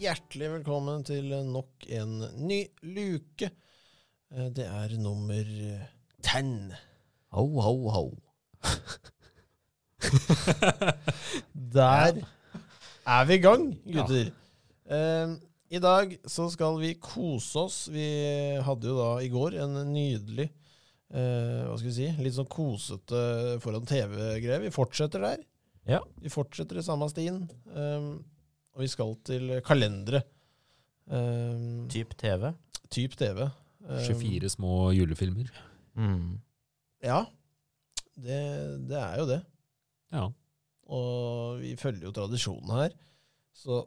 Hjertelig velkommen til nok en ny luke. Eh, Det er nummer eh, ten. Ho, ho, ho. Der er vi i gang, gutter. Eh, I dag så skal vi kose oss. Vi hadde jo da i går en nydelig eh, Hva skal vi si? Litt sånn kosete foran TV-greie. Vi fortsetter der. Ja. Vi fortsetter i samme stien. Eh, og vi skal til kalendere. Eh, Typ TV. typ TV. Eh, 24 små julefilmer. Mm. Ja, det, det er jo det. Ja. Og vi følger jo tradisjonen her. Så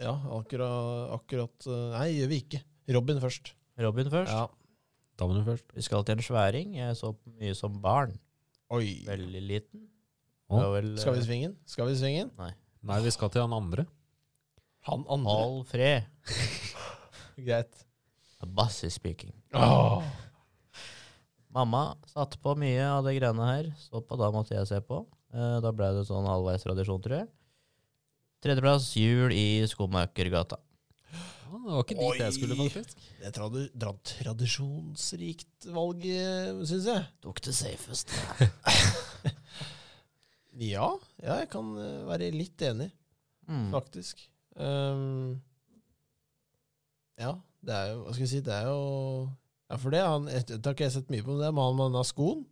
ja, akkurat, akkurat eh, Nei, gjør vi ikke. Robin først. Robin først. Ja. Damene først. Vi skal til en sværing. Jeg så på mye som barn. Oi. Veldig liten. Å. Det var vel, Skal vi eh, svinge den? Skal vi svinge den? Nei, vi skal til han andre. Han andre. Alfred. Greit. Bassi speaking. Mamma satte på mye av det greiene her. Så på, da måtte jeg se på. Eh, Da ble det sånn halvveis tradisjon, tror jeg. Tredjeplass, jul i Skomakergata. Ja, det var ikke dit Oi. jeg skulle, faktisk. Det er tradu dra tradisjonsrikt valg, syns jeg. Tok det safest. Ja, ja, jeg kan eh, være litt enig, Mm. faktisk. Ehm, ja, det er jo Hva skal jeg si, det er jo Ja, for det, han, det har ikke jeg sett mye på, men det er mannen med denne skoen.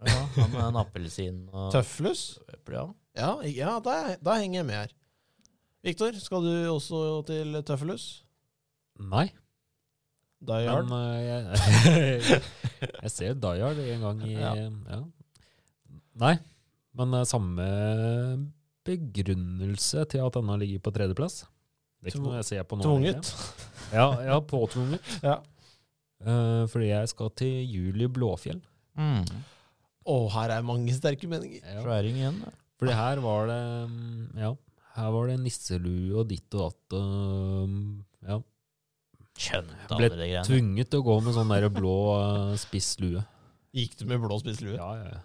Ja, han med en appelsin og Tøflus. Ja. Ja, ja da, da henger jeg med her. Viktor, skal du også til Tøffelhus? Nei, Die Hard? men eh, jeg, jeg ser Die Hard en gang i ja. Ja. Nei, men eh, samme begrunnelse til at denne ligger på tredjeplass. Det er Tv- ikke noe jeg ser på nå. egentlig. Tvunget? Ja, ja påtvunget. Ja. Eh, fordi jeg skal til jul i Blåfjell. Mm. Å, her er mange sterke meninger. Ja. Sværing igjen. da. Fordi her var det mm, Ja, her var det nisselue og ditt og datt. og, mm, Ja. Skjønte Ble alle de greiene. Tvunget til å gå med sånn der blå eh, spiss lue. Gikk du med blå spisslue? Ja, ja, ja.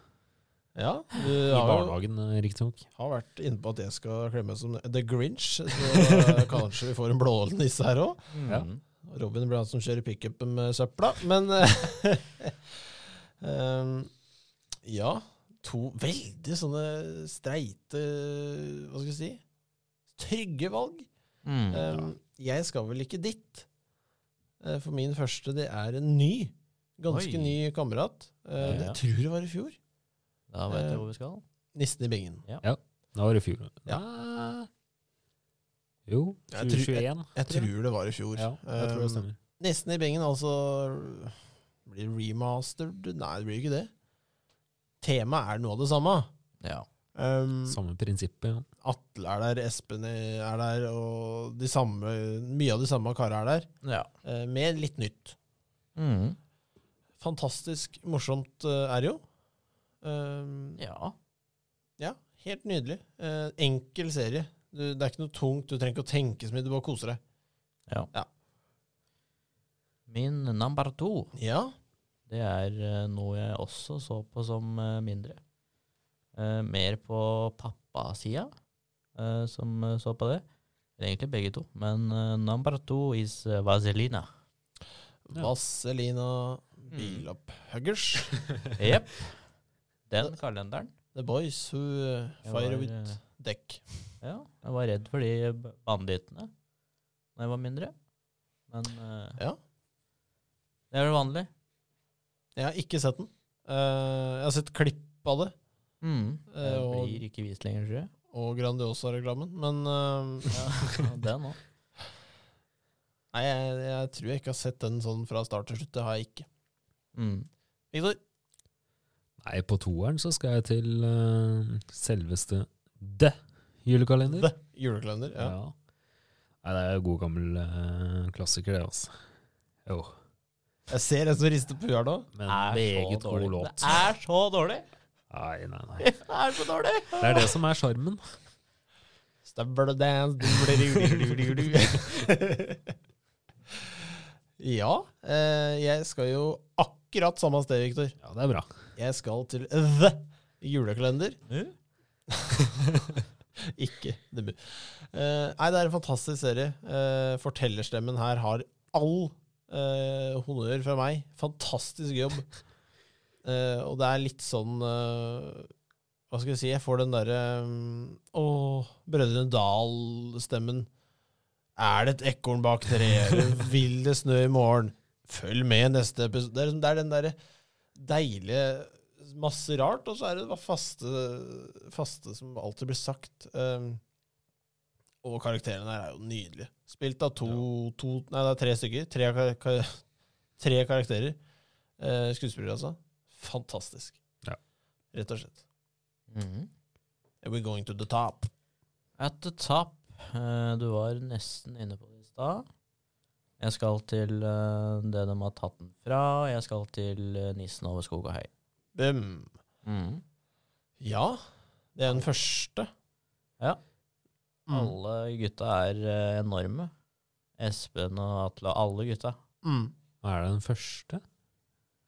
Ja. Du I har, jo- barnehagen, eh, riktignok. har vært inne på at jeg skal klemme som The Grinch, så kanskje vi får en blå nisse her òg. Mm. Ja. Robin blir han som kjører pickupen med søpla, men eh, em, Ja. To veldig sånne streite Hva skal vi si? Trygge valg. Mm. Um, jeg skal vel ikke dit. Eh, For min første, det er en ny. Ganske Oi. ny kamerat. Eh, Det Ja. tror jeg var i fjor. Da vet Eh, jeg hvor vi skal. Nissen i bingen. Da var det i fjor. Ja. Nei. Jo, Jeg tror- 2021. Jeg tror det var i fjor. Ja, jeg tror det Um, stemmer. Nissen i bingen, altså Blir det remastered? Nei, det blir ikke det. Temaet er noe av det samme. Ja. Um, Samme prinsippet. Ja. Atle er der, Espen er der, og de samme, mye av de samme karene er der. ja. eh, Med litt nytt. Mm. Fantastisk morsomt eh, er det jo. Um, ja. Ja, helt nydelig. Eh, enkel serie. Du, det er ikke noe tungt, du trenger ikke å tenke så mye, du bare koser deg. Ja. Ja. Min number to, Ja, det er eh, noe jeg også så på som eh, mindre. Eh, mer på pappasida, eh, som eh, så på det. Eller egentlig begge to. Men eh, number two is eh, Vazelina. Ja. Vazelina Mm. Bilopphuggers. Jepp. Den kalenderen. The Boys Who Jeg Fire var, With eh, Deck. Ja, jeg var redd for de b- bandittene da jeg var mindre. Men eh, Ja. det er vel vanlig. Jeg har ikke sett den. Eh, jeg har sett klipp av det, Det Eh, og- blir ikke vist lenger, tror jeg. og Grandiosa-reklamen, men eh, Ja, den òg. Nei, jeg, jeg tror jeg ikke har sett den sånn fra start til slutt. Det har jeg ikke. Mm. Victor? Nei, på toeren så skal jeg til eh, selveste The julekalender. The Julekalender. Ja. Ja. Nei, det er jo god gammel eh, klassiker, det, altså. Jo. Jeg ser en som rister på huet her nå. Er Men så meget god dårlig. låt. Det er så dårlig! Nei, nei, nei. Det er så dårlig! Det er det som er sjarmen. Stabble dance du-bli-du-bli-du-bli-du. Ja, eh, jeg skal jo akkurat samme sted, Viktor. Ja, det er bra. Jeg skal til The Julekalender. Du? Ikke debut. Eh, nei, det er en fantastisk serie. Eh, fortellerstemmen her har all eh, honnør fra meg. Fantastisk jobb. Eh, og det er litt sånn eh, Hva skal jeg si? Jeg får den derre um, Å, Brødrene Dal-stemmen. Er det et ekorn bak treet? Eller Vil det snø i morgen? Følg med neste episode. Det er, liksom- det er den derre deilige masse rart, og så er det bare faste, faste som alltid blir sagt. Um, og karakterene her er jo nydelige. Spilt av to, to Nei, det er tre stykker. Tre, kar- kar- tre karakterer. Eh, skuespillere, altså. Fantastisk. Ja. Rett og slett. Mhm. We're going to the top. At the top. Eh, Du var nesten inne på det i stad. Jeg skal til eh, det de har tatt den fra, og jeg skal til eh, nissen over skog og hei. Bum. Ja, det er den første. Mm. Alle gutta er eh, enorme. Espen og Atle, alle gutta. Mm. Er det den første?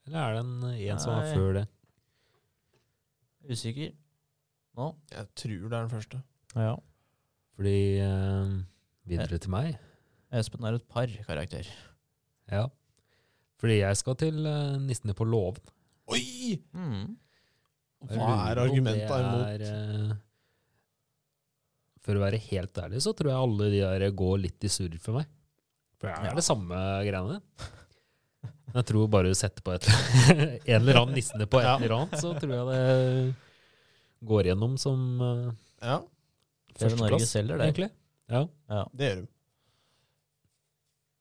Eller er det en, en som var Nei. før det? Usikker. Nå? Jeg tror det er den første. Ja. Fordi eh, Videre til meg. Espen er et par karakter. Ja. Fordi jeg skal til eh, Nissene på låven. Oi! Mhm. Jeg Hva er lurer på om argumenta det imot? er, eh, For å være helt ærlig, så tror jeg alle de der går litt i surr for meg. For det er det samme greiene. Men Jeg tror bare du setter på et, en eller annen nissene på et Ja. eller annet, så tror jeg det går gjennom som eh, Ja, Det er det Norge førsteplass, selger, det. egentlig. Ja. Ja. Det gjør de.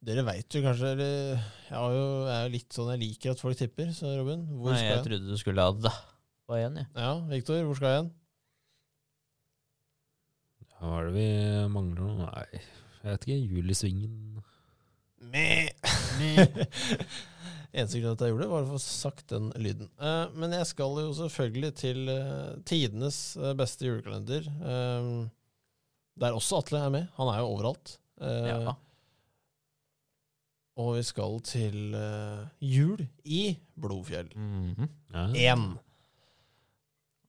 Dere veit jo kanskje eller, Jeg har jo, er jo litt sånn jeg liker at folk tipper, sa Robin. Hvor Nei, skal jeg jeg? trodde du skulle ha det på igjen, jeg. Ja, Viktor, hvor skal jeg hen? Hva er det vi mangler nå? Nei, jeg vet ikke. Julisvingen Eneste grunn til at jeg gjorde det, var å få sagt den lyden. Eh, men jeg skal jo selvfølgelig til eh, tidenes eh, beste julekalender. eh, der også Atle er med. Han er jo overalt. Eh, Ja. Og vi skal til eh, jul i Blodfjell. mm. Mhm. ja. Én.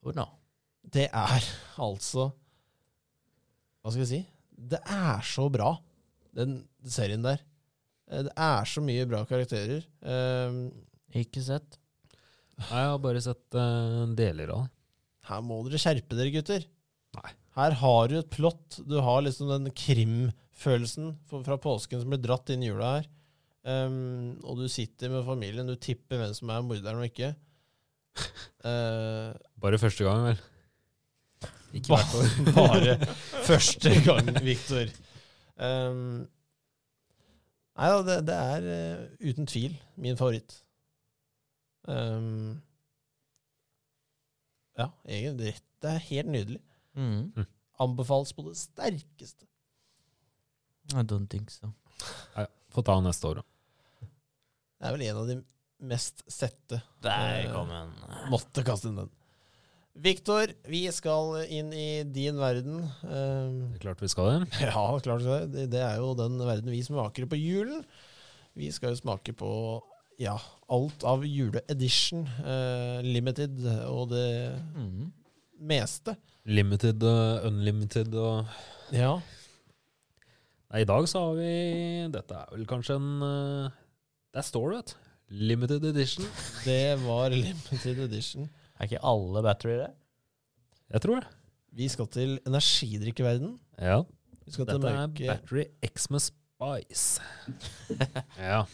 Hvor nå? Det er altså Hva skal jeg si? Det er så bra, den serien der. Eh, Det er så mye bra karakterer. Eh, Ikke sett. Nei, Jeg har bare sett eh, deler av det. Her må dere skjerpe dere, gutter. Nei. Her har du et plott. Du har liksom den krimfølelsen for- fra påsken som ble dratt inn i jula her. Ehm, og du sitter med familien, du tipper hvem som er morderen og ikke. Eh, Bare første gang, vel. Ikke Ba- hvert år. Bare første gang, Viktor. Um, nei da, det, det er eh, uten tvil min favoritt. Ehm, ja, egentlig. rett- Det er helt nydelig. Mhm. Anbefales på det sterkeste. I don't think so. Nei, Få ta den neste år, da. Det er vel en av de mest sette. Der Eh, kom den. Måtte kaste inn den. Viktor, vi skal inn i din verden. Um, Det er klart vi skal det. Ja, klart det. er. Det- Det er jo den verden vi smaker på julen. Vi skal jo smake på ja, alt av juleedition, eh, limited og det Mhm. Mm. meste. Limited og unlimited og Ja. Nei, i dag så har vi Dette er vel kanskje en eh, Der står det, vet du. Limited edition. Det var limited edition. Er ikke alle battery det? Jeg tror det. Vi skal til energidrikkeverden. Ja. Vi skal til Dette er merke Battery X med Spice. Ja.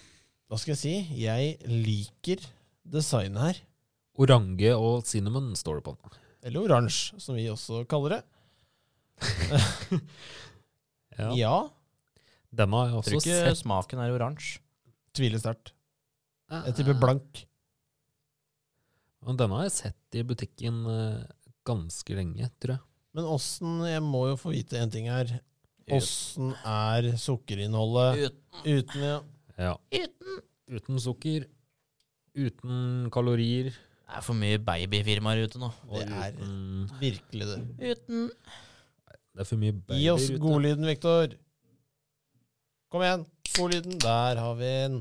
Hva skal jeg si? Jeg liker designet her. Orange og cinnamon står det på den. Eller oransje, som vi også kaller det. Ja. Ja, Denne har jeg Tror også ikke sett. smaken er oransje. tviler sterkt. Jeg tipper blank. Men Denne har jeg sett i butikken eh, ganske lenge, tror jeg. Men åssen Jeg må jo få vite en ting her. Åssen er sukkerinnholdet Ut- uten ja. Ja. Uten Uten sukker, uten kalorier Det er for mye babyfirmaer ute nå. og Det er- uten virkelig det? Uten Mm, Det er for mye Gi babyer oss ute. godlyden, Viktor. Kom igjen. Godlyden. Der har vi den.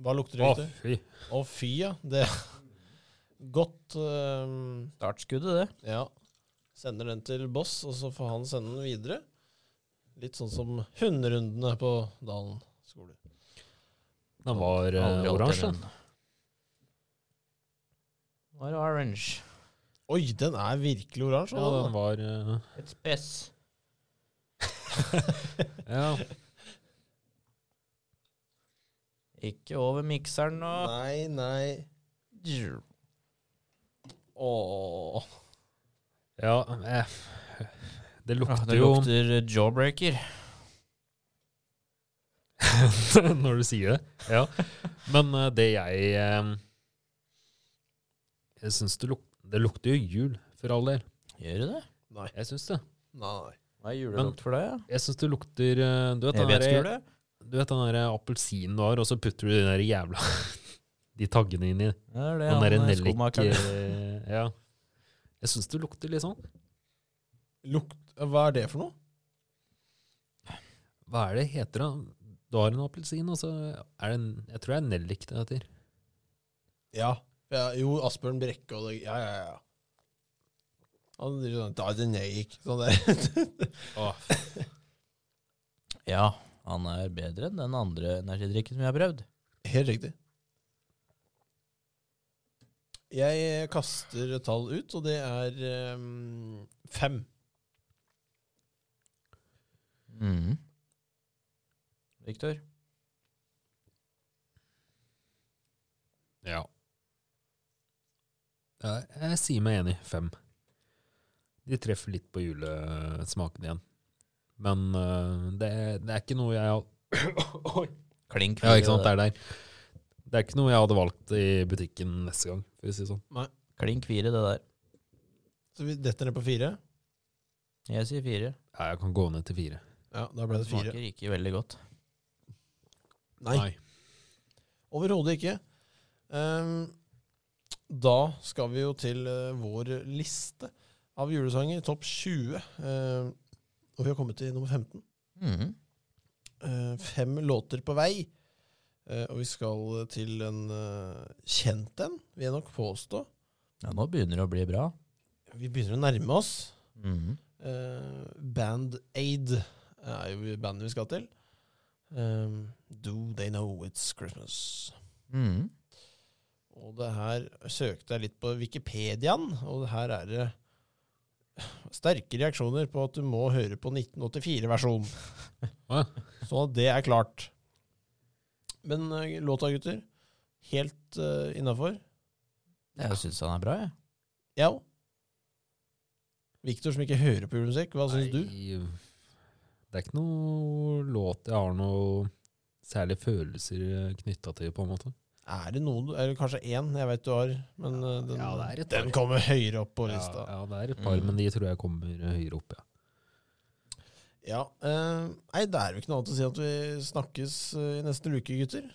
Hva lukter det, Å, Viktor? fy. Å, fy, ja. Det Godt øhm, startskuddet, det. Ja. Sender den til boss, og så får han sende den videre. Litt sånn som hunderundene på Dalen skole. Den var eh, Aldri oransje. alternativ. Var det orange? Oi, den er virkelig oransje. Ja, altså. den var eh, Et spess. Ja. Ikke over mikseren nå. Nei, nei. Åh. ja eh, det Ah, lukter Det jo lukter jawbreaker. når du sier det. Ja. Men eh, det jeg eh, Jeg syns det, luk det lukter jo jul, for all del. Gjør det det? Nei. Jeg syns det. Nei. Hva er julelukt for deg? Jeg syns det lukter eh, Du vet den der- du vet den der appelsinen du har, og så putter du den der jævla De taggene inn i Ja, det er det den der han eh, nellik... skomakeren. eh, Ja. Jeg syns det lukter litt sånn. Lukt, hva er det for noe? Hva er det heter da? Du har en appelsin, og så er det en Jeg tror det er nellik det heter. Ja. ja jo, Asbjørn Brekke og det Ja, ja, ja. Han driver sånn Da er det neik. Sånn der. Ja, han er bedre enn den andre energidrikken som jeg har prøvd. Helt riktig. Jeg kaster et tall ut, og det er ehm, fem. Mhm. Mm. Viktor? Ja. Jeg, jeg sier meg enig. Fem. De treffer litt på julesmaken igjen. Men øh, det, det er ikke noe jeg har Oi. Klink. Ja, ikke sant, det er der. Det er ikke noe jeg hadde valgt i butikken neste gang, for å si det sånn. Klink fire, det der. Så vi detter ned på fire. Jeg sier fire. Ja, jeg kan gå ned til fire. Ja, da ble det fire. Smaker ikke veldig godt. Nei, overhodet ikke. Ehm, da skal vi jo til eh, vår liste av julesanger, topp 20. Ehm, og vi har kommet til nummer 15. Mm. Mhm. Eh, fem låter på vei. Eh, og vi skal til en eh, kjent en, vil jeg nok påstå. Ja, nå begynner det å bli bra. Vi begynner å nærme oss. Mhm. Mm. Eh, Band Aid er jo bandet vi skal til. Um, Do They Know It's Christmas. Mhm. Mm. Og det her søkte jeg litt på Wikipediaen, og her er det sterke reaksjoner på at du må høre på 1984-versjonen. Hva? Så det er klart. Men eh, låta, gutter, helt uh, innafor. Jeg syns han er bra, jeg. Ja. Victor, som ikke hører på julemusikk, hva syns du? Nei, Det er ikke noe låt jeg har noe særlig følelser knytta til, på en måte. Er det noen, er det kanskje én jeg vet du har, men eh, den, Ja, det er et par. den kommer høyere opp på Ja, lista. ja, det er et par, Mm. men de tror jeg kommer høyere opp, ja. Ja, eh, Nei, det er jo ikke noe annet å si at vi snakkes eh, i neste uke, gutter.